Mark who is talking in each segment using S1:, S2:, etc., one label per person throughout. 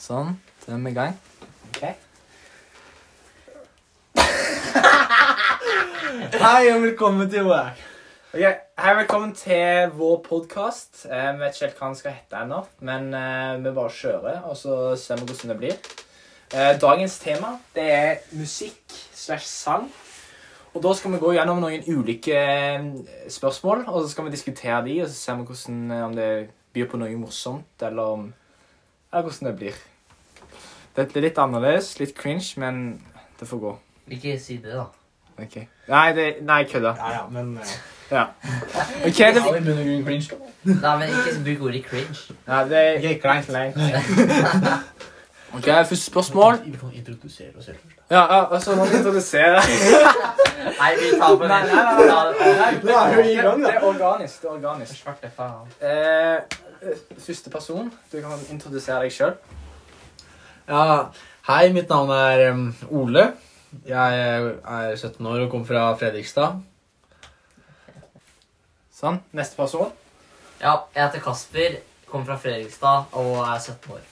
S1: Sånn, da er vi i gang.
S2: Ok.
S1: Hei og velkommen til vår.
S2: Ok, Hei, velkommen til vår podkast. Eh, vi vet ikke helt hva den skal hete ennå, men eh, vi bare kjører, og så ser vi hvordan det blir. Eh, dagens tema det er musikk slash sang. Og Da skal vi gå gjennom noen ulike eh, spørsmål, og så skal vi diskutere de, og så ser vi hvordan, eh, om det byr på noe morsomt, eller om eller hvordan det blir. Det er litt annerledes, litt cringe, men det får gå.
S3: Ikke si det, da.
S2: Ok. Nei, det, nei, kødda.
S4: Ja, ja, men eh,
S2: Ok, det,
S4: i bunn og grunn cringe, da.
S3: Nei, men Ikke bruk ordet cringe.
S2: nei, det
S4: Jeg er kleint.
S2: Ok, første spørsmål.
S4: Vi kan introdusere oss selv først.
S2: Ja, ja, altså, nå introduserer
S3: Nei, vi tar på det.
S2: Nei, nei, nei,
S4: Nå er vi i gang, da.
S2: Det er organisk. det er organisk.
S3: Svarte faen.
S2: Eh, første person. Du kan introdusere deg sjøl.
S4: Ja, hei, mitt navn er em, Ole. Jeg eh, er 17 år og kommer fra Fredrikstad.
S2: Sånn. Neste person.
S3: Ja, jeg heter Kasper, kommer fra Fredrikstad og er 17 år.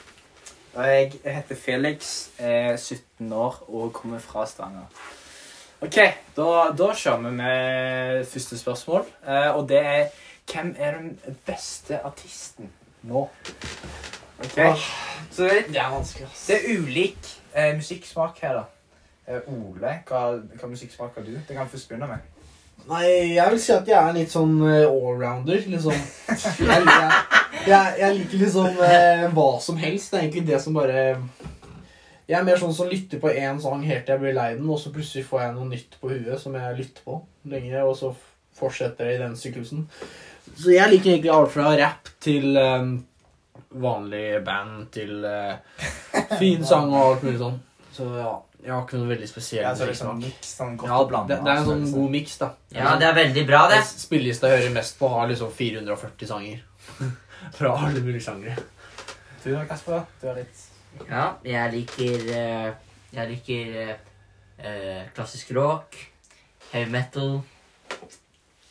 S2: Og jeg heter Felix, er 17 år og kommer fra Stavanger. OK, da, da kjører vi med første spørsmål, eh, og det er Hvem er den beste artisten nå? OK. Så det er
S4: Det er vanskelig, ass.
S2: Det er ulik eh, musikksmak her, da. Eh, Ole, hva, hva musikksmak har du? Det kan vi først begynne med.
S4: Nei, jeg vil si at jeg er litt sånn eh, allrounder, liksom. Jeg, jeg, jeg, jeg liker liksom eh, hva som helst. Det er egentlig det som bare Jeg er mer sånn som lytter på én sang helt til jeg blir lei den, og så plutselig får jeg noe nytt på huet som jeg lytter på lenge, og så f- fortsetter det i den syklusen. Så jeg liker egentlig alt fra rapp til eh, vanlig band til eh, fin sang og alt mulig sånn. Så ja, jeg har ikke noe veldig spesiell
S2: Ja, så det er
S4: musikksmak.
S2: sånn mix, sånn godt
S4: Ja,
S2: å blande.
S4: det, det er en
S2: altså,
S4: sånn
S2: liksom.
S4: god miks, da.
S3: Ja, det er veldig bra, det.
S4: Det spillelista jeg hører mest på, har liksom 440 sanger. Fra alle mulige sjangre.
S2: Du da, Kasper? da? Du er litt
S3: Ja, jeg liker eh, Jeg liker eh, eh, klassisk rock, heavy metal,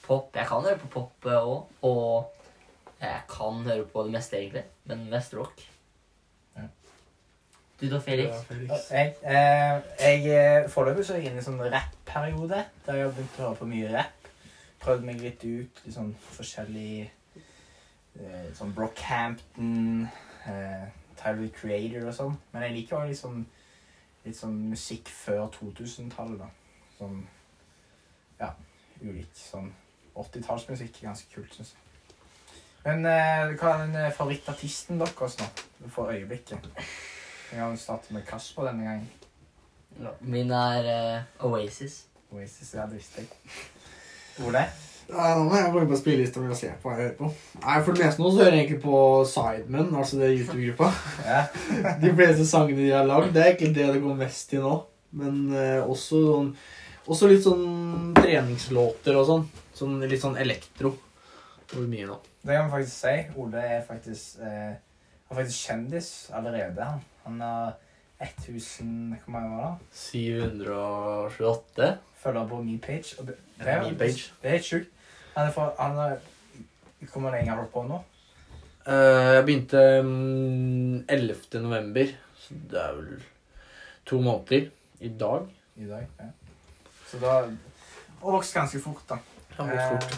S3: pop. Jeg kan høre på pop òg. Og jeg kan høre på det meste, egentlig. Men mest rock.
S2: Ja.
S3: Du da, Felix?
S2: Jeg, eh, jeg eh, Foreløpig så er jeg inne i en sånn rapp-periode. Der jeg har begynt å høre på mye rapp. Prøvd meg litt ut i sånn forskjellig eh, Sånn Brockhampton, eh, Tyler the Creator og sånn. Men jeg liker også liksom, litt sånn musikk før 2000-tallet, da. Sånn Ja, ulik sånn 80-tallsmusikk er ganske kult, syns jeg. Men eh, hva er den eh, favorittartisten deres nå? For øyeblikket? Jeg har jo startet med Kasper denne gangen.
S3: Min er eh, Oasis.
S2: Oasis er dristig. Ole?
S4: Nei, nå må jeg gå inn på spillelista mi og se på hva jeg hører på. Nei, For det meste nå så hører jeg egentlig på Sidemen, altså det YouTube-gruppa.
S2: Ja.
S4: De fleste sangene de har lagd, det er egentlig det det går mest til nå. Men eh, også sånn Også litt sånn treningslåter og sånn. Sånn Litt sånn elektro. Det blir mye nå.
S2: Det kan vi faktisk si. Ole er faktisk, eh, han er faktisk kjendis allerede. Han, han har 1000 Hvor mange var det?
S4: 728.
S2: Følgere på min page. Og det, det,
S4: Ja,
S2: er,
S4: min page.
S2: det er helt sjukt. Han er fra han er, Hvor mange lenge har du holdt på nå?
S4: Eh, jeg begynte mm, 11. november, så det er vel to måneder i dag.
S2: I dag? Ja. Så da Og vokst ganske fort, da.
S4: Ja, hvor fort.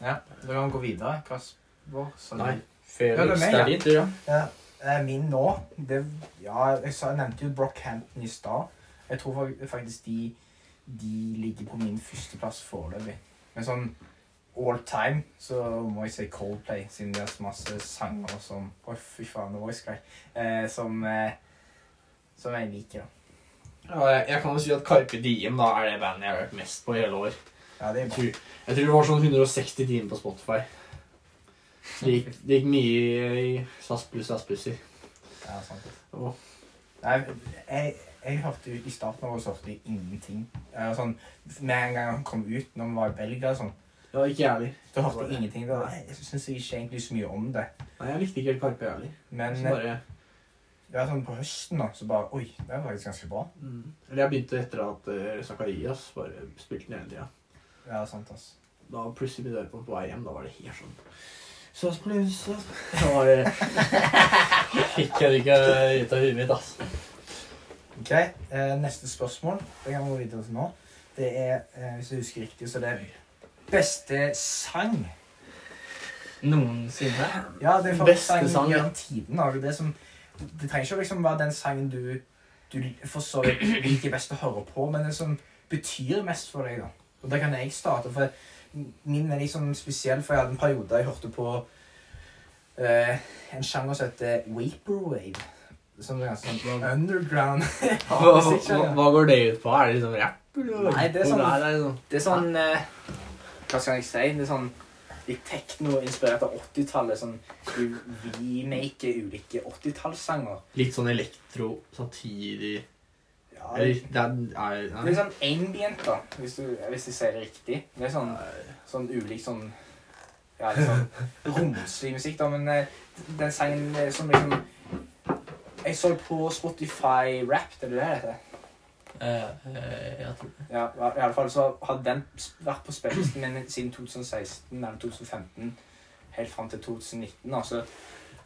S2: Eh, ja. Da kan vi gå videre. Kasper, sa du?
S4: Eh, Nei,
S2: Ja, det er meg,
S4: Felix, det
S2: ja.
S4: er ditt, tror jeg.
S2: Ja, eh, min nå det, Ja, jeg, sa, jeg nevnte jo Brockhampton i stad. Jeg tror fak- faktisk de, de ligger på min førsteplass foreløpig. Men sånn all time så må jeg si Coldplay, siden det er så masse sanger som Oi, fy faen, The Voice Crack. Eh, som, eh, som jeg liker, da.
S4: Ja, jeg. Jeg kan jo si at Carpe Diem da, er det bandet jeg har hørt mest på i hele år.
S2: Ja, det er
S4: Jeg
S2: bra.
S4: tror, jeg tror det var sånn 160 timer på Spotify. Så det gikk, det gikk mye i SAS pluss SAS plusser.
S2: Ja, sant.
S4: Åh.
S2: Nei, jeg, jeg hørte jo i starten av oss hørte jeg ingenting. Eh, sånn, med en gang han kom ut, når vi var i Belgia og sånn
S4: Ja, ikke jeg heller.
S2: Da hørte jeg ingenting. Da. Jeg syns ikke egentlig så mye om det.
S4: Nei, jeg likte ikke helt Carpe, jeg heller.
S2: Men
S4: Så
S2: det
S4: bare,
S2: er sånn på høsten da, så bare Oi, det er faktisk ganske bra.
S4: mm. Eller jeg begynte etter at eh, Zakarias bare spilte den hele tida.
S2: Ja, sant, ass.
S4: Da plutselig begynte jeg på på vei hjem, da var det helt sånn Søs på lusa Det var det. Fikk jeg det ikke ut av huet mitt, ass.
S2: Ok, eh, Neste spørsmål det kan vi gå videre til nå. Det er, eh, hvis jeg husker riktig, så det er beste sang.
S3: Noensinne.
S2: Ja, det er
S4: Beste
S2: faktisk
S4: sang,
S2: sang
S4: ja.
S2: gjennom tiden. Har du det som Det trenger ikke å liksom være den sangen du, du for så vidt liker best å høre på, men den som betyr mest for deg, da. Og da kan jeg starte, for min er liksom spesiell, for jeg hadde en periode der jeg hørte på eh, en sjanger som heter Vaporwave. Som er ganske sånn underground
S4: Hva,
S2: hardmusikk,
S4: hva,
S2: skjønner du.
S4: hva går det ut på? Er det liksom rapp? eller?
S2: Nei, det er sånn-
S4: Hvor det liksom-
S2: Det er sånn eh, Hva skal jeg si? Det er sånn litt tekno-inspirert av 80-tallet. Sånn, du remaker ulike 80-tallssanger.
S4: Litt sånn elektro-satiri
S2: Ja,
S4: Eller det er, er,
S2: Det er
S4: nei.
S2: sånn ambient, da, hvis, du, hvis jeg sier det riktig. Det er sånn, sånn ulik sånn Ja, litt sånn romslig musikk, da, men eh, den sangen eh, som liksom Jeg så på Spotify Rap, det er det det heter.
S3: Eh, eh, jeg tror det.
S2: Ja, i alle fall så hadde den s- vært på spillelisten min siden 2016 eller 2015, helt fram til 2019. da, så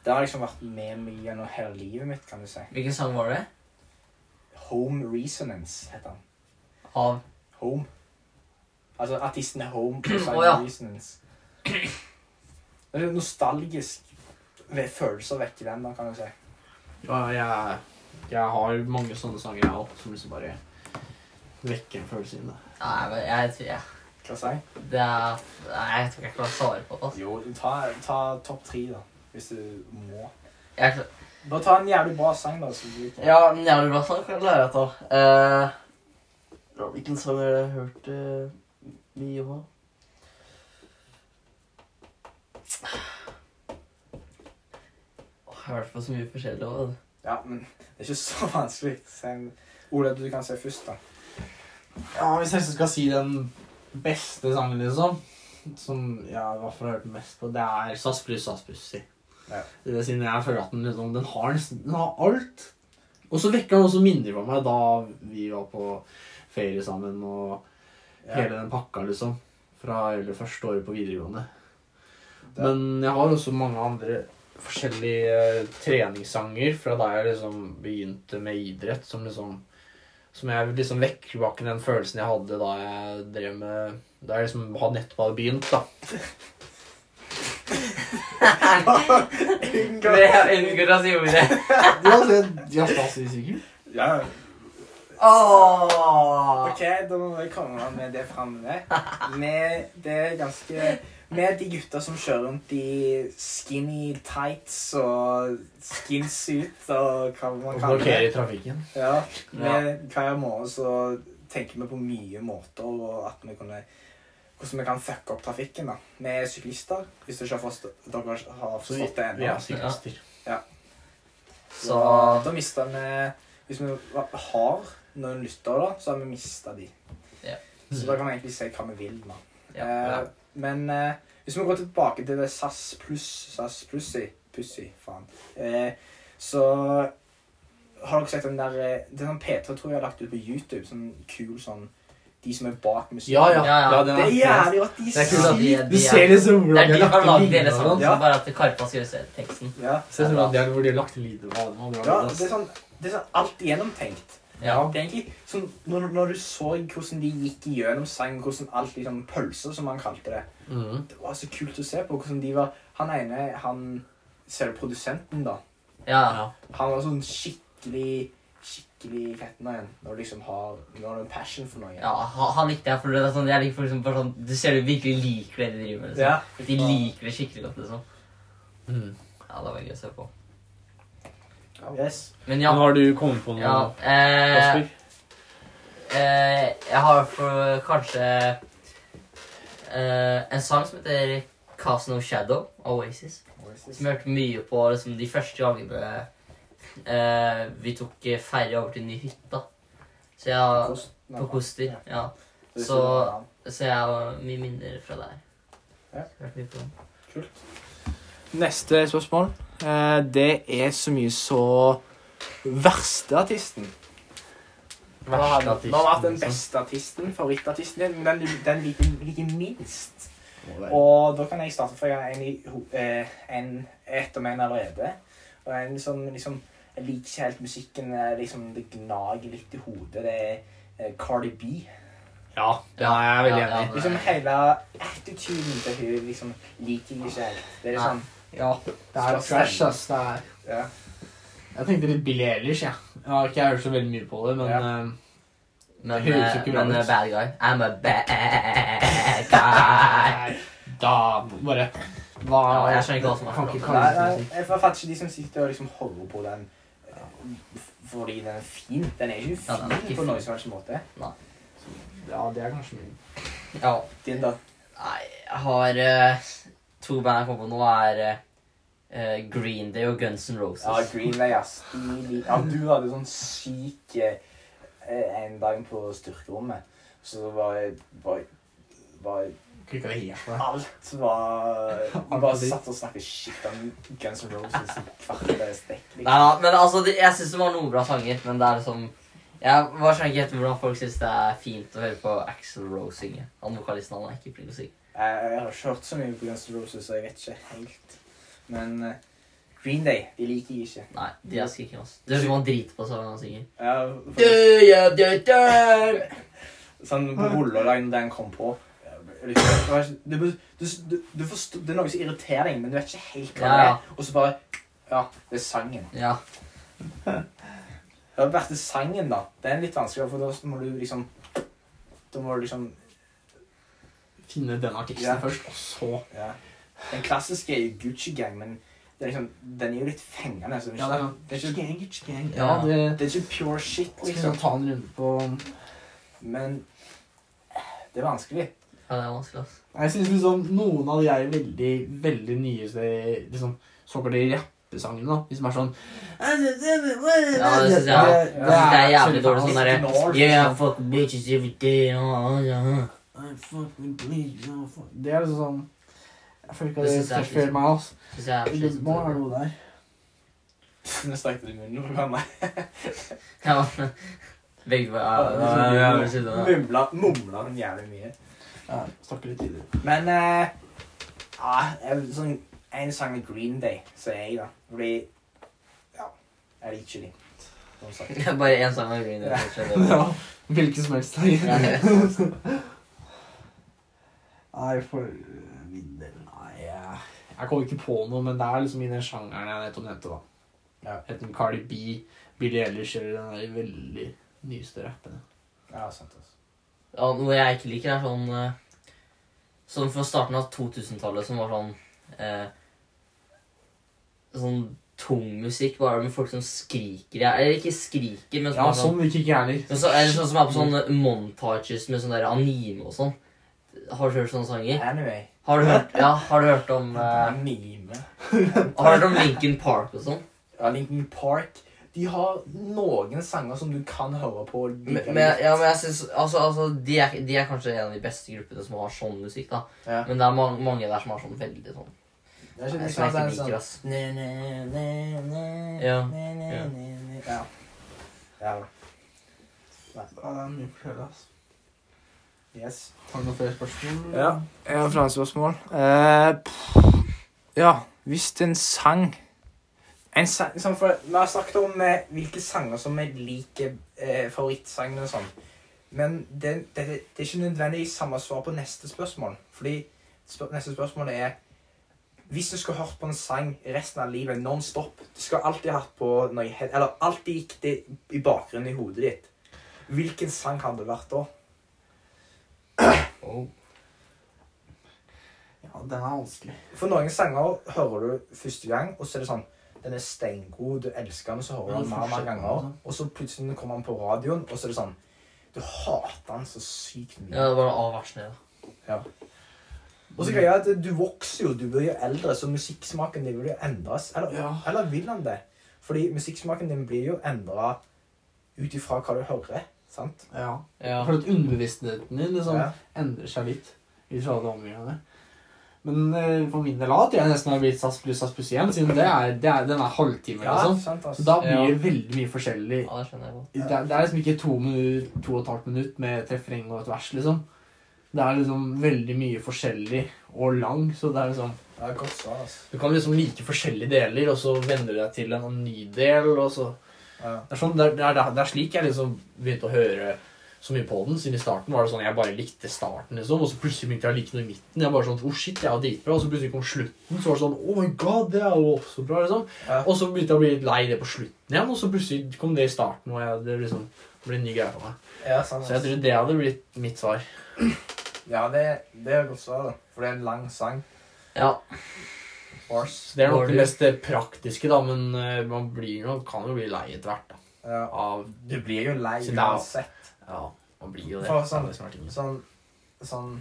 S2: det har liksom vært med meg gjennom hele livet mitt, kan du si.
S3: Hvilken sang var det?
S2: Home Resonance heter han.
S3: Av
S2: Home. Altså artisten er Home på Silent
S3: Å, ja.
S2: Resonance. Det er jo nostalgisk ve- følelser vekk i den, da, kan du si.
S4: Ja, jeg, jeg har mange sånne sanger, jeg òg, som liksom bare vekker en følelse inni deg.
S3: Nei, men jeg tror jeg,
S2: Hva sier jeg?
S3: det er, Nei, jeg tror ikke jeg klarer å svare på det. altså.
S2: Jo, ta, ta topp tre, da. Hvis du må.
S3: Jeg klar-
S2: Bare ta en jævlig bra sang, da. Så du
S3: Ja, en jævlig bra sang. kan Jeg lære deg av. Eh, hvilken sang har dere hørt eh, mye på? Åh, Jeg har hørt på så mye forskjellig altså. òg.
S2: Ja, men det er ikke så vanskelig. Sen, Ola, du kan se først, da.
S4: Ja, Hvis jeg skal si den beste sangen, liksom, som jeg i hvert fall har hørt mest på, det er Saspris Saspussi.
S2: Ja.
S4: Det vil si, når jeg føler at den, liksom, den, har, nesten- den har alt. Og så vekker den også minner fra meg da vi var på ferie sammen og hele den pakka, liksom. Fra hele første året på videregående.
S2: Det-
S4: Men jeg har også mange andre forskjellige eh, treningssanger fra da jeg liksom begynte med idrett, som liksom Som jeg liksom vekker tilbake den følelsen jeg hadde da jeg drev med Da jeg liksom hadde nettopp hadde begynt, da.
S3: Jeg unngår å si ordet.
S4: Ja, det, ja, sikkert.
S2: Ja.
S3: Åh!
S2: OK, da må vi komme med det framme. Med det ganske Med de gutta som kjører rundt i skinny tights og skinsuit og hva man kaller
S4: Og
S2: det.
S4: blokkere i trafikken.
S2: Ja, med hver morgen så tenker vi på mye måter og at vi kunne, hvordan vi kan fucke opp trafikken da. Vi er syklister, hvis du ikke har forstått, dere har
S4: Så vi,
S2: forstått det
S4: vi
S2: ennå.
S4: er syklister.
S2: Så
S3: Så-
S2: da mister vi, hvis vi har noen lyttere da, så har vi mistet de.
S3: Ja.
S2: Så da kan vi egentlig si hva vi vil da.
S3: Ja.
S2: Eh, men eh, hvis vi går tilbake til det SAS pluss, SAS plussi, pussy, faen, eh, så har dere sett den der, eh, det er sånn P3 tror jeg har lagt ut på YouTube, sånn kul sånn, de som er bak musikken.
S4: Ja, ja.
S3: Ja, ja.
S4: den
S2: Det er jævlig rått, de
S4: Det er kult at de,
S3: de
S4: du
S3: er-
S4: ser liksom
S3: Det
S4: hvordan
S3: er de som har lagd hele sangen,
S4: Ja.
S3: så bare at Karpa skal se teksten.
S2: Ja,
S4: Se hvordan de har hvor de har altså. lagt lyder på. det var bra,
S2: ja,
S4: ass.
S2: det er sånn, det er sånn alt gjennomtenkt.
S3: Ja.
S2: Det er egentlig sånn, når, når du så hvordan de gikk gjennom sangen, hvordan alt liksom pølser, som han kalte det,
S4: Mhm.
S2: det var så kult å se på hvordan de var, han ene, han, ser du produsenten da,
S3: ja.
S2: Han var sånn skikkelig skikkelig fetten av en når du liksom har når du har en passion for noe.
S3: Ja, ha- han likte jeg, for det er sånn, jeg liker for eksempel bare sånn, du ser du virkelig liker det de driver med, liksom.
S2: Ja.
S3: De liker det skikkelig godt, liksom.
S4: Mhm.
S3: Ja, det var gøy å se på.
S2: Yes.
S3: Men
S4: Men
S3: ja,
S4: Har du kommet på noe?
S3: ja, eh,
S4: Kasper?
S3: eh, jeg har for, kanskje eh, en sang som heter Cast No Shadow, Oasis, som jeg hørte mye på liksom, de første gangene eh, vi tok eh, ferje over til en ny hytta. Så jeg,
S2: Kost- nei,
S3: på Koster,
S2: Ja.
S3: ja.
S2: Det er
S3: Så-
S2: sånn,
S3: Så jeg har mye minner fra der.
S2: Ja.
S3: Hørte mye på den.
S2: ja. Kult.
S1: Neste spørsmål. Eh, Det er så mye så Verste artisten.
S2: Hva har
S4: Verste liksom.
S3: liksom.
S2: hva har vært den
S4: artisten,
S2: beste artisten, favorittartisten din, men den, du- den liker, liker minst?
S4: Må være.
S2: Og da kan jeg starte for jeg har en, i, ho- eh, en ett om en allerede. Og en som liksom Jeg liker ikke helt musikken. eh, Liksom, det gnager litt i hodet. Det er eh, Cardi B.
S1: Ja, det er jeg veldig
S3: Ja, ja,
S1: enig i.
S2: Liksom hele attituden til hun liksom, liker jeg ikke helt. Det er
S3: Nei.
S2: sånn Ja.
S4: Det er trash, ass. Det er...
S2: ja.
S4: Jeg tenkte litt Billie Eilish, jeg. Ja. Jeg har ikke hørt så veldig mye på det, men
S2: Ja.
S4: eh,
S3: Men,
S4: Det høres jo
S3: eh,
S4: ikke bra
S3: men
S4: ut.
S3: eh, bad guy. I'm a bad guy.
S4: da bare Hva
S3: Ja, jeg skjønner ikke hva som er
S4: Kan ikke
S3: for
S2: Nei,
S4: kalle
S2: nei,
S4: det
S2: jeg fatter ikke de som sitter og liksom holder på den eh, fordi den er fin. Den er ikke
S3: Ja,
S2: fin
S3: den er
S2: på
S3: ikke fin.
S2: noen som helst måte.
S4: musikk. Ja, det er kanskje mye.
S3: Ja.
S2: Din, da?
S3: Nei, jeg har eh, to band jeg kommer på nå, er eh, eh, Green Day og Guns N' Roses.
S2: Ja, Green Day, ass. De, de, ja, du hadde sånn syk eh, en dag på styrkerommet. Så det var, var, var
S4: Klikka det helt på deg.
S2: Alt var Vi bare satt og snakket shit om Guns N' Roses i kvarte stekk.
S3: Nei,
S2: liksom.
S3: da, men altså, det, jeg syns det var noen bra sanger, men det er liksom Jeg bare skjønner ikke helt hvordan folk syns det er fint å høre på Axel Rose synge. Han vokalisten han er ikke flink til å synge.
S2: Jeg, Eh, jeg har ikke hørt så mye på Guns N' Roses, så jeg vet ikke helt. Men eh, Green Day, de liker jeg ikke.
S3: Nei, de elsker ikke oss. Det høres ut som han driter på seg når han synger.
S2: Ja, for- Sånn på Rollerline når den kom på. eh, liksom, Du, du, du, du forstår, det er noe som irriterer deg, men du vet ikke helt hva det
S3: Ja,
S2: er. Og så bare Ja, det er sangen.
S3: ja.
S2: Det hadde vært det sangen, da. Det er litt vanskeligere, for da må du liksom Da må du liksom
S4: Finne den artisten
S2: Ja.
S4: først, og så
S2: Ja. Den klassiske er jo Gucci Gang, men det er liksom, den er jo litt fengende. Så det,
S4: Ja, det
S2: er
S4: er
S2: ikke,
S4: sånn
S2: det, er ikke,
S4: gang, it's gang. Ja,
S3: Ja.
S4: det
S2: det er ikke pure shit,
S4: Skal vi
S2: liksom.
S4: sånn ta en runde på
S2: Men eh, det er vanskelig.
S3: ja det er vanskelig, ass.
S4: Jeg syns liksom noen av de er veldig, veldig nye så- liksom, såkalte rappesangene, da. De som er sånn
S3: Ja, det synes jeg
S4: Det,
S3: også.
S4: det
S3: Det er
S4: er
S3: jævlig dårlig
S4: kjempefast.
S3: sånn derre
S2: Gnål, liksom.
S3: Yeah, fuck bitches every day. ah, ah, ah.
S4: I fucking believe you, fuck- Det er liksom sånn Jeg føler ikke at
S3: Det
S4: det
S3: synes jeg er
S4: treffer
S3: litt-
S4: meg, altså.
S3: Synes jeg er
S4: Det
S3: slitsomt.
S4: må være noe der.
S2: Nå stakk det i munnen på meg.
S3: Ja, men- Begge var ja, det var jævlig slitsomt, ja.
S2: Mumla, mumla den jævlig mye.
S4: Ja, snakker litt tidligere.
S2: Men eh, ja, jeg- sånn, en sang med Green Day, sier jeg, da. Fordi Ja, jeg liker ikke de. Som sagt.
S3: Bare én sang med Green Day.
S2: Ja.
S3: kanskje, det var-
S4: Ja, hvilken som helst dag. Nei, for min del Nei, jeg, jeg kom ikke på noe, men det er liksom i den sjangeren jeg nettopp nevnte, da.
S2: Ja.
S4: Enten Cardi B, Billie Eilish eller den der veldig nyeste rappen.
S2: Ja, sant, altså.
S3: Ja, noe jeg ikke liker, er sånn eh, Sånn fra starten av 2000-tallet som var sånn eh, Sånn tung musikk, bare med folk som skriker. Ja, Eller ikke skriker, men som
S4: Ja,
S3: er sånn,
S4: sånn liker ikke jeg heller.
S3: men så, eller sånn som er på sånne montages med sånn der anime og sånn. Har du hørt sånne sanger?
S2: Anyway.
S3: Har du hørt, ja, har du hørt om eh,
S2: Anime.
S3: Har du hørt om Lincoln Park og sånn?
S2: Ja, Linkin Park. De har noen sanger som du kan høre på. og like
S3: Men, men,
S2: litt.
S3: ja, men jeg synes, altså, altså, de, er, de er kanskje en av de beste gruppene som har sånn musikk. da
S2: Ja.
S3: Men det er mange, mange der som har sånn veldig sånn
S2: Det er ikke
S3: Nei,
S2: liksom
S3: som jeg
S2: at det
S3: ikke
S2: er
S3: liker,
S2: sånn
S3: ass.
S2: ne, ne, ne, ne,
S3: Ja,
S2: ne, ne,
S3: ja.
S2: ne, ne. Ja. Ja.
S4: Ja, det er mye flere, altså.
S2: Yes.
S4: Har du noen flere spørsmål?
S1: Ja, jeg har flere spørsmål. Eh, pff, ja, hvis en sang En sang
S2: Liksom for, vi har snakket om eh, hvilke sanger som vi liker eh, favorittsangene og sånn. Men det, det, det er ikke nødvendigvis samme svar på neste spørsmål. Fordi spør, neste spørsmål er Hvis du skulle hørt på en sang resten av livet non stop Du skal alltid ha hatt på noe i he- Eller alltid gikk det i bakgrunnen i hodet ditt. Hvilken sang hadde det vært da?
S4: Ja, den er vanskelig.
S2: For noen sanger hører du første gang, og så er det sånn Den er steingod, du elsker den, og så hører
S4: Ja,
S2: du den mer og mer
S4: fortsetter,
S2: ganger. Og så plutselig kommer den på radioen, og så er det sånn Du hater den så sykt
S3: Ja,
S2: mye.
S3: det var avvarsel.
S2: Og så greia er at du vokser jo, du blir jo eldre, så musikksmaken din vil jo endres. Eller,
S4: Ja.
S2: eller vil han det? Fordi musikksmaken din blir jo endra ut ifra hva du hører. Sant?
S4: Ja.
S3: Ja.
S4: For at underbevisstheten din liksom
S2: Ja.
S4: endrer seg litt ut fra alle omgivelsene. Men eh, for min del av at jeg nesten har blitt SAS pluss SAS pluss 1, siden det er, det er, den er halvtime.
S2: Ja,
S4: liksom.
S2: sant,
S4: Så
S2: altså.
S4: da blir det veldig mye forskjellig.
S3: Ja, det skjønner jeg godt.
S4: Det, er- det er liksom ikke to, minu- to og et halvt minutt med et refreng og et vers, liksom. Det er liksom veldig mye forskjellig og lang, så det er liksom
S2: Det er godt svar, altså.
S4: Du kan liksom like forskjellige deler, og så venner du deg til en annen ny del, og så
S2: Ja.
S4: Det er, sånn, det, er, det, er, det er slik jeg liksom begynte å høre så mye på den. Siden i starten var det sånn jeg bare likte starten, liksom. Og så plutselig begynte jeg å like noe i midten. Jeg bare sånn, oh shit, jeg er dritbra. Og så plutselig kom slutten, så var det sånn oh my god, det er jo også bra, liksom.
S2: Ja.
S4: Og så begynte jeg å bli litt lei det på slutten igjen, og så plutselig kom det i starten. Og jeg, det liksom ble en ny greie for meg.
S2: Ja, sant.
S4: Så jeg tror det hadde blitt mitt svar.
S2: Ja, det, det er et godt svar, da. For det er en lang sang.
S4: Ja.
S2: Horse.
S4: Så det er
S3: Var
S4: nok
S3: du-
S4: det mest eh, praktiske, da, men eh, man blir jo, kan jo bli lei etter hvert. da.
S2: Ja.
S4: Av
S2: Du blir jo lei
S4: Så det er-
S2: uansett.
S4: Ja, man blir jo det.
S2: For sånn-
S4: Det er det som er tingen.
S2: Sånn, sånn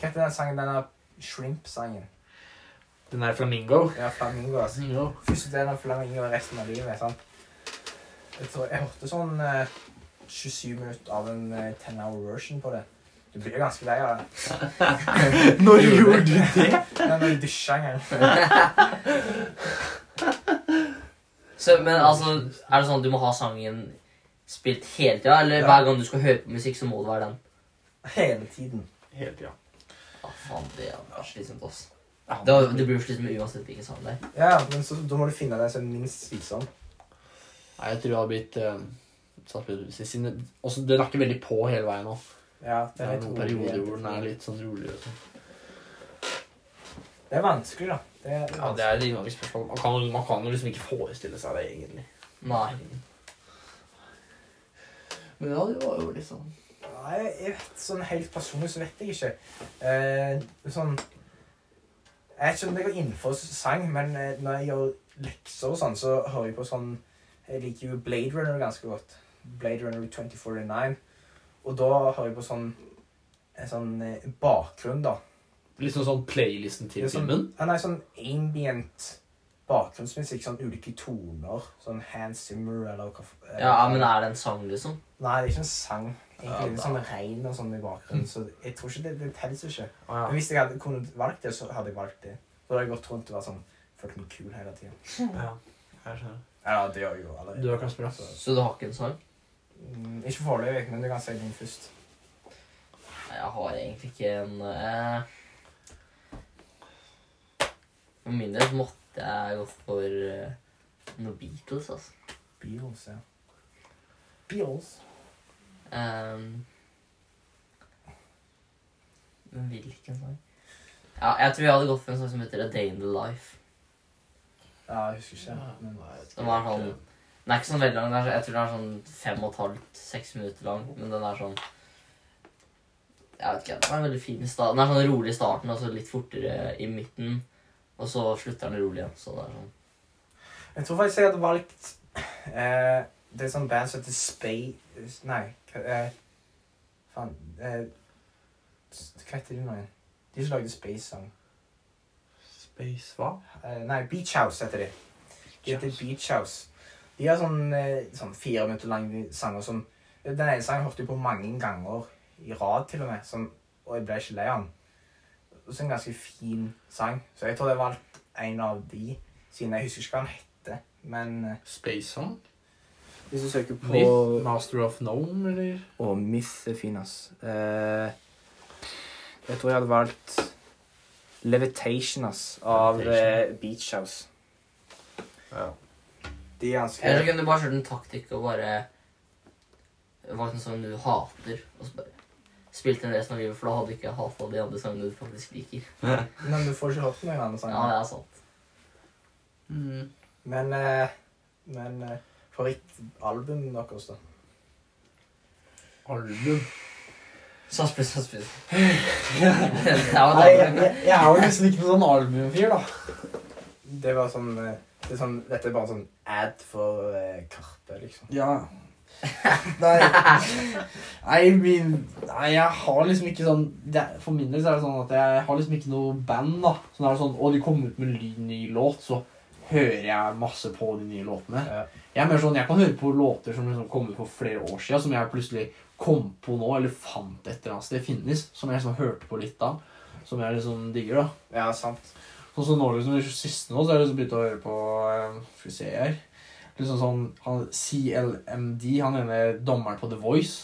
S2: Hva heter den sangen? Den der Shrimp-sangen.
S4: Den der flamingo.
S2: Ja, Flamingo. altså.
S4: Flamingo.
S2: Første delen av Flamingo og resten av livet. sant? Jeg tror jeg hørte sånn eh, 27 minutter av en eh, 10 hour version på det. Du blir jo ganske lei av det.
S4: Når gjorde du det?
S2: Men når du dusjer en gang
S3: Så, men altså, er det sånn at du må ha sangen spilt hele tida? Eller
S2: Ja.
S3: hver gang du skal høre på musikk, så må det være den?
S2: Hele tiden.
S4: Hele tida.
S3: Ja, faen, det er slitsomt, ass. Det, var, det blir jo slitsomt uansett hvilken sang det er.
S2: Ja, men så, da må du finne den som er minst slitsom.
S4: Nei, jeg tror det hadde blitt eh, satt litt siden- siden det- også, Den er ikke veldig på hele veien nå.
S2: Ja,
S4: Det
S2: den
S4: er
S2: er
S4: noen
S2: litt rolig.
S4: perioder hvor den er litt sånn roligere. og sånn.
S2: Det er vanskelig, da. Det er,
S4: Ja, det er et dynamisk spørsmål. Man kan, man kan jo liksom ikke forestille seg det, egentlig.
S3: Nei.
S4: Men ja, det var jo litt sånn
S2: Nei, jeg vet sånn helt personlig så vet jeg ikke. Eh, sånn Jeg vet ikke om det går innenfor sang, men eh, når jeg gjør lekser og sånn, så hører jeg på sånn Jeg liker jo Blade Runner ganske godt. Blade Runner 2049. Og da hører jeg på sånn en sånn eh, bakgrunn, da.
S4: Liksom sånn playlisten til
S2: Det er sånn-
S4: filmen.
S2: Ja, nei, sånn ambient bakgrunnsmusikk. Sånn ulike toner. Sånn Hans Zimmer eller hva f- eh,
S3: Ja, men er det en sang, liksom?
S2: Nei, det er ikke en sang. Egentlig
S4: Ja,
S2: er det
S4: da.
S2: sånn regn og sånn i bakgrunnen, så jeg tror ikke det, det telles ikke.
S4: Ah,
S2: Men
S4: ja.
S2: hvis jeg hadde kunnet valgt det, så hadde jeg valgt det. Da hadde jeg gått rundt og vært sånn Følt meg kul hele tiden.
S4: Ja, jeg sånn, skjønner.
S2: Ja, det gjør jeg jo allerede.
S4: Du da, Kasper, da?
S2: Så,
S3: Så du har ikke en sang?
S2: mm, ikke foreløpig, men du kan si din først.
S3: Nei, jeg har egentlig ikke en eh... For min del så måtte jeg gått for eh, noe Beatles, altså.
S2: Beatles, ja. Beatles.
S3: Ehm, Men hvilken sang? Ja, jeg tror jeg hadde gått for en sang som heter A Day in the Life.
S2: Ja, jeg husker ikke. Men,
S3: Den er sånn Den er ikke sånn veldig lang. den er så- Jeg tror den er sånn fem og et halvt, seks minutter lang. Men den er sånn Jeg vet ikke, Den er veldig fin i starten. Den er sånn rolig i starten og så litt fortere i midten. Og så slutter den rolig igjen. Så det er sånn
S2: jeg tror faktisk jeg hadde valgt eh, Det er sånn band som heter Space Nei, hva- eh, faen eh, s- Hva heter de nå igjen? De som lagde Space Song.
S4: Space hva?
S2: Eh, nei, Beach House heter de. De heter Beach House. De har sånn, eh, sånn fire minutter lange sanger som Den ene sangen hørte jeg på mange ganger i rad, til og med, som, og jeg ble ikke lei av den. Og så en ganske fin sang. Så jeg tror jeg valgte en av de, siden jeg husker ikke hva den heter. Men eh,
S4: Space Song?
S1: Hvis du søker på
S4: Myth? Master of Nome, eller?
S1: Og Myth er fin, ass. Eh, jeg tror jeg hadde valgt Levitation, ass, av eh, Beach House.
S4: Ja.
S2: de er ganske
S3: Eller så kunne du bare kjørt en taktikk og bare valgt en sang du hater, og så bare spilt den resten av livet, for da hadde du ikke hata de andre sangene du faktisk liker.
S2: Men du får ikke hørt noen andre
S3: Ja,
S2: sanger.
S3: det er sant.
S4: Mm.
S2: Men, eh, men eh, favorittalbumet deres, da?
S4: Album.
S3: Sasspress, sasspress. det var
S4: Nei, jeg,
S3: dårlig.
S4: jeg, jeg er jo liksom ikke noen sånn albumfyr, da.
S2: Det var sånn, eh, det er sånn Dette er bare sånn ad for eh, Karpe, liksom.
S4: Ja. Nei, nei, min, nei, jeg har liksom ikke sånn det, er- For min del så er det sånn at jeg har liksom ikke noe band. da Så da er det sånn, Og de kommer ut med ly- ny låt, så hører jeg masse på de nye låtene.
S2: Ja.
S4: Jeg er mer sånn, jeg kan høre på låter som liksom kom ut for flere år siden, som jeg plutselig kom på nå, eller fant et eller annet sted finnes. Som jeg liksom hørte på litt av. Som jeg liksom digger. da
S2: Ja, sant.
S4: Sånn som nå, liksom, det siste nå, så har jeg liksom begynt å høre på eh, Skal vi se her Liksom sånn han, CLMD, han ene dommeren på The Voice,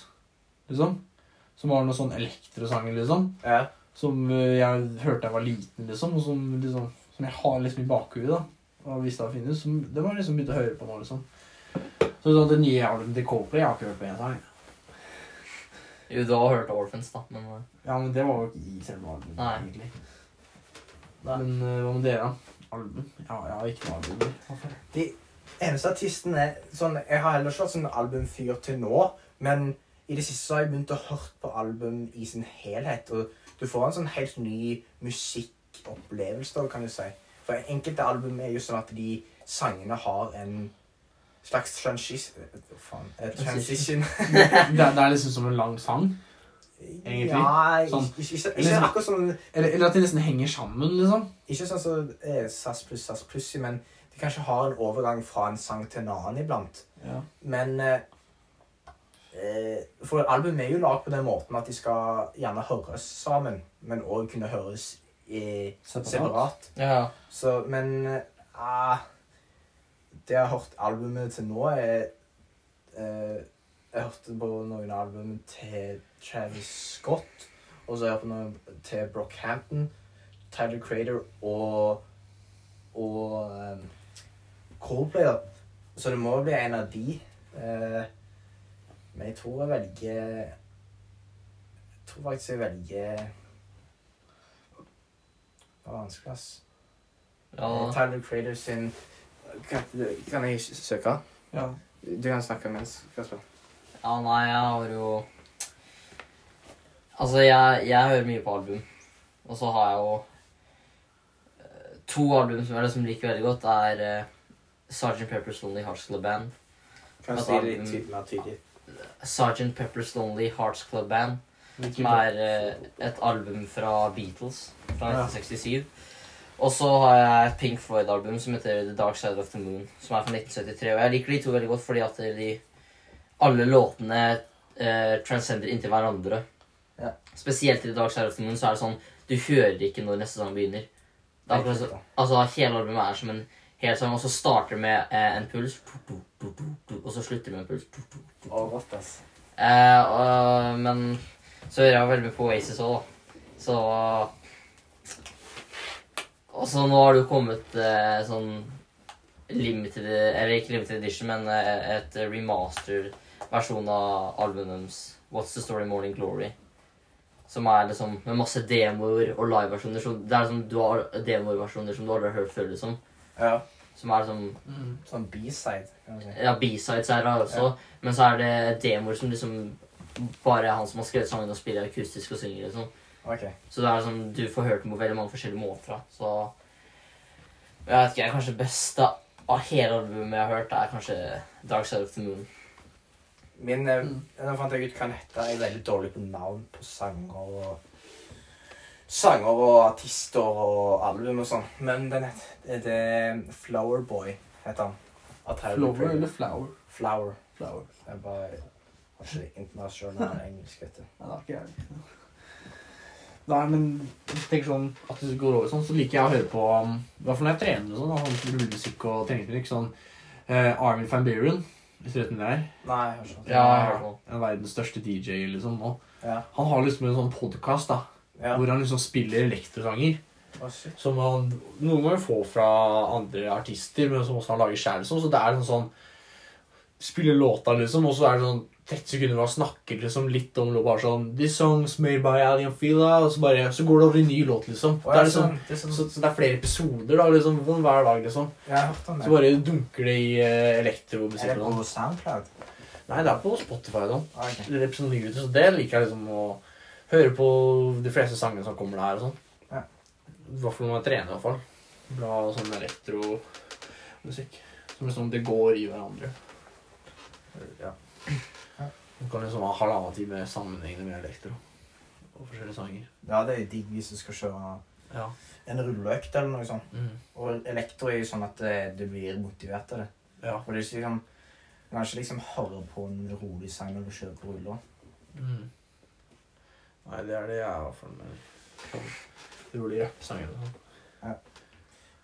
S4: liksom. Som var noen sånn elektrosanger, liksom.
S2: Ja.
S4: Som eh, jeg hørte da jeg var liten, liksom. Og som, liksom, som jeg har liksom i bakhuet, da. Og hvis det finnes. Som, det var liksom begynt å høre på nå, liksom. Så sånn, at det nye albumet til Coldplay jeg har ikke hørt på én sang.
S3: Jo, du har hørt Orphans, da, men eh,
S4: Ja, men det var jo ikke i selve albumet,
S3: Nei.
S4: egentlig. Men eh, hva med dere, da? Album? Ja, jeg har ikke noe album.
S2: Eneste artisten er sånn, Jeg har heller ikke vært sånn albumfyr til nå, men i det siste så har jeg begynt å høre på album i sin helhet. Og du får en sånn helt ny musikkopplevelse, da, kan du si. For enkelte album er jo sånn at de sangene har en slags transis... hva Faen. eh, Transition.
S4: Det, er- det er liksom som en lang sang. Egentlig?
S2: Ja,
S4: Sånn.
S2: ikke, ikke, ikke akkurat sånn
S4: Eller, eller at de nesten henger sammen, liksom.
S2: Ikke sånn som eh, SAS pluss SAS pluss, men de kanskje har en overgang fra en sang til en annen iblant.
S4: Ja.
S2: Men eh, eh, For album er jo lagd på den måten at de skal gjerne høres sammen, men òg kunne høres eh, separat.
S3: ja, ja.
S2: Så, men eh, ah, Det jeg har hørt albumet til nå, er eh, Jeg hørte på noen album til Travis Scott, og så har jeg hørt på noen til Brockhampton, Tyler Crater og og um, Coldplay. da. Så det må bli en av de. eh, men jeg tror jeg velger Jeg tror faktisk jeg velger Det var vanskelig, ass.
S3: ja.
S2: Eh, Tyler Creator sin kan, kan jeg ikke søke?
S4: Ja.
S2: Du kan snakke mens. Kasper.
S3: Ja, nei, jeg har jo Altså, jeg, jeg hører mye på album. Og så har jeg jo eh, to album som jeg liksom liker veldig godt, er uh, Sergeant Pepper's Lonely Hearts Club Band.
S2: Kan
S3: du
S2: du
S3: si
S2: si
S3: det
S2: det
S3: litt ty-
S2: mer tydelig?
S3: Sergeant Pepper's Lonely Hearts Club Band, som er eh, et album fra Beatles fra
S4: Ja.
S3: 1967. Og så har jeg et Pink Floyd-album som heter The Dark Side of the Moon, som er fra 1973. Og jeg liker de to veldig godt fordi at de alle låtene eh, transcender inntil hverandre.
S2: Ja.
S3: Spesielt i The Dark Side of the Moon så er det sånn du hører ikke når neste sang begynner. Det er akkurat så, altså Hele albumet er som en hel sang, og så starter det med eh, en puls, og så slutter det med en puls.
S2: Og rått, ass.
S3: Eh, og- men så hører jeg veldig mye på Oasis òg, da. Så Og så nå har det jo kommet eh, sånn limited Eller ikke limited edition, men eh, et remastered versjon av albumet deres What's the Story Morning Glory. Som er liksom med masse demoer og liveversjoner. så Det er liksom du har demoversjoner som du aldri har hørt før, liksom.
S2: Ja.
S3: Som er liksom
S4: Mm.
S2: Sånn B-side. kan du si.
S3: ja, B-sides er det også, men så er det demoer som liksom bare er han som har skrevet sangen og spiller akustisk og synger. liksom.
S2: Ok.
S3: Så det er sånn, du får hørt den på veldig mange forskjellige måter. da. Så jeg vet ikke, jeg er kanskje best av av hele albumet jeg har hørt, er kanskje Dark Side of the Moon.
S2: Min, eh,
S4: Mm.
S2: Nå fant jeg ut hva den heter. Jeg er veldig dårlig på navn på sanger og Sanger og artister og album og sånn. Men den heter det er Flower Boy, heter han. Av Tyler
S4: Flower
S2: Creator.
S4: eller flower?
S2: Flower.
S4: Flower.
S2: Jeg bare har ikke internasjonal engelsk, vet du.
S4: Nei, det er ikke jeg. Nei, men jeg tenker sånn at det går over sånn, så liker jeg å høre på um, I hvert fall når jeg trener og sånn. da, Sånn rullemusikk og treningsmusikk. Sånn eh, Armin van Buren. Hvis du vet hvem det er.
S2: Nei, jeg har ikke hørt
S3: Ja, jeg har hørt om.
S4: En av verdens største DJ, liksom. nå.
S2: Ja.
S4: Han har liksom en sånn podkast
S2: Ja.
S4: hvor han liksom spiller elektrosanger.
S2: Å, shit.
S4: Som han noen ganger får fra andre artister, men som også han lager sjæl. Liksom. Så det er sånn sånn Spiller låta, liksom, og så er det sånn 30 sekunder hvor han snakker liksom, litt om lå- bare sånn This song's made by Ali and Fila, og så bare Så går det over i en ny låt, liksom.
S2: Å,
S4: det
S2: ja,
S4: er liksom
S2: sånn, det er sånn-
S4: så, så det er flere episoder da, liksom, sånn hver dag, liksom.
S2: Jeg har hørt om
S4: Så bare dunker det i eh, elektromusikk.
S2: Er det
S4: og sånn.
S2: på SoundCloud?
S4: Nei, det er på Spotify, da.
S2: Ah, ok.
S4: Eller på sånne nyheter, så det liker jeg liksom å høre på de fleste sangene som kommer der og sånn.
S2: Ja.
S4: I hvert fall når man trener, i hvert fall. Bra sånn elektromusikk. Som liksom det går i hverandre.
S2: Ja.
S4: Du kan liksom ha halvannen time sammenhengende med elektro. Og forskjellige sanger.
S2: ja, det er digg hvis du skal kjøre
S4: Ja.
S2: en rulleøkt eller noe sånt.
S4: Mm.
S2: Og elektro er jo sånn at eh, du blir motivert av det.
S4: Ja.
S2: Og det er ikke liksom, Du kan ikke liksom høre på en rolig sang når du kjører på ruller.
S4: Mm. Nei, det er det jeg er i hvert fall med. Sånn rolig rappsanger og sånn.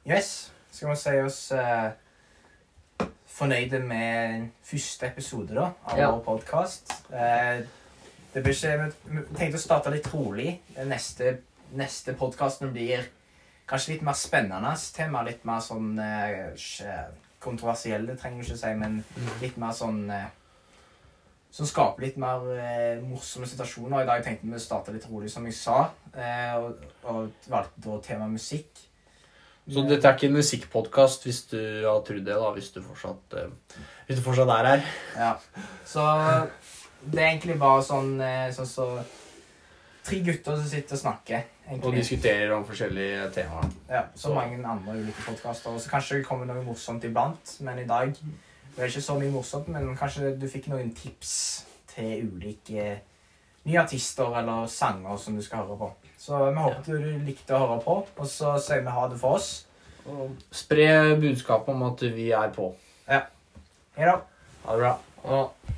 S2: Yes, skal vi si oss eh, fornøyde med første episode da, av
S3: Ja.
S2: vår podkast. Eh, det Det blir ikke, vi vi tenkte å starte litt rolig. Den Neste, neste podkasten blir kanskje litt mer spennende tema. Litt mer sånn eh, ikke kontroversiell, det trenger du ikke si, men litt mer sånn eh, Som skaper litt mer eh, morsomme situasjoner. I dag tenkte vi å starte litt rolig, som jeg sa, eh, og, og valgte da tema musikk.
S4: Så dette er ikke en musikkpodkast, hvis du har trodd det, da, hvis du fortsatt, eh, hvis du fortsatt er her.
S2: Ja. Så det er egentlig bare sånn eh, sånn så Tre gutter som sitter og snakker.
S4: Og
S2: egentlig.
S4: diskuterer om forskjellige temaer.
S2: Ja, så mange andre ulike podkaster. Og så kanskje det kommer noe morsomt iblant, men i dag det er ikke så mye morsomt. Men kanskje du fikk noen tips til ulike nye artister eller sanger som du skal høre på. Så vi håper du likte å høre på, og så sier vi ha det for oss.
S4: Og spre budskapet om at vi er på.
S2: Hei da.
S4: Ha det bra.
S3: Og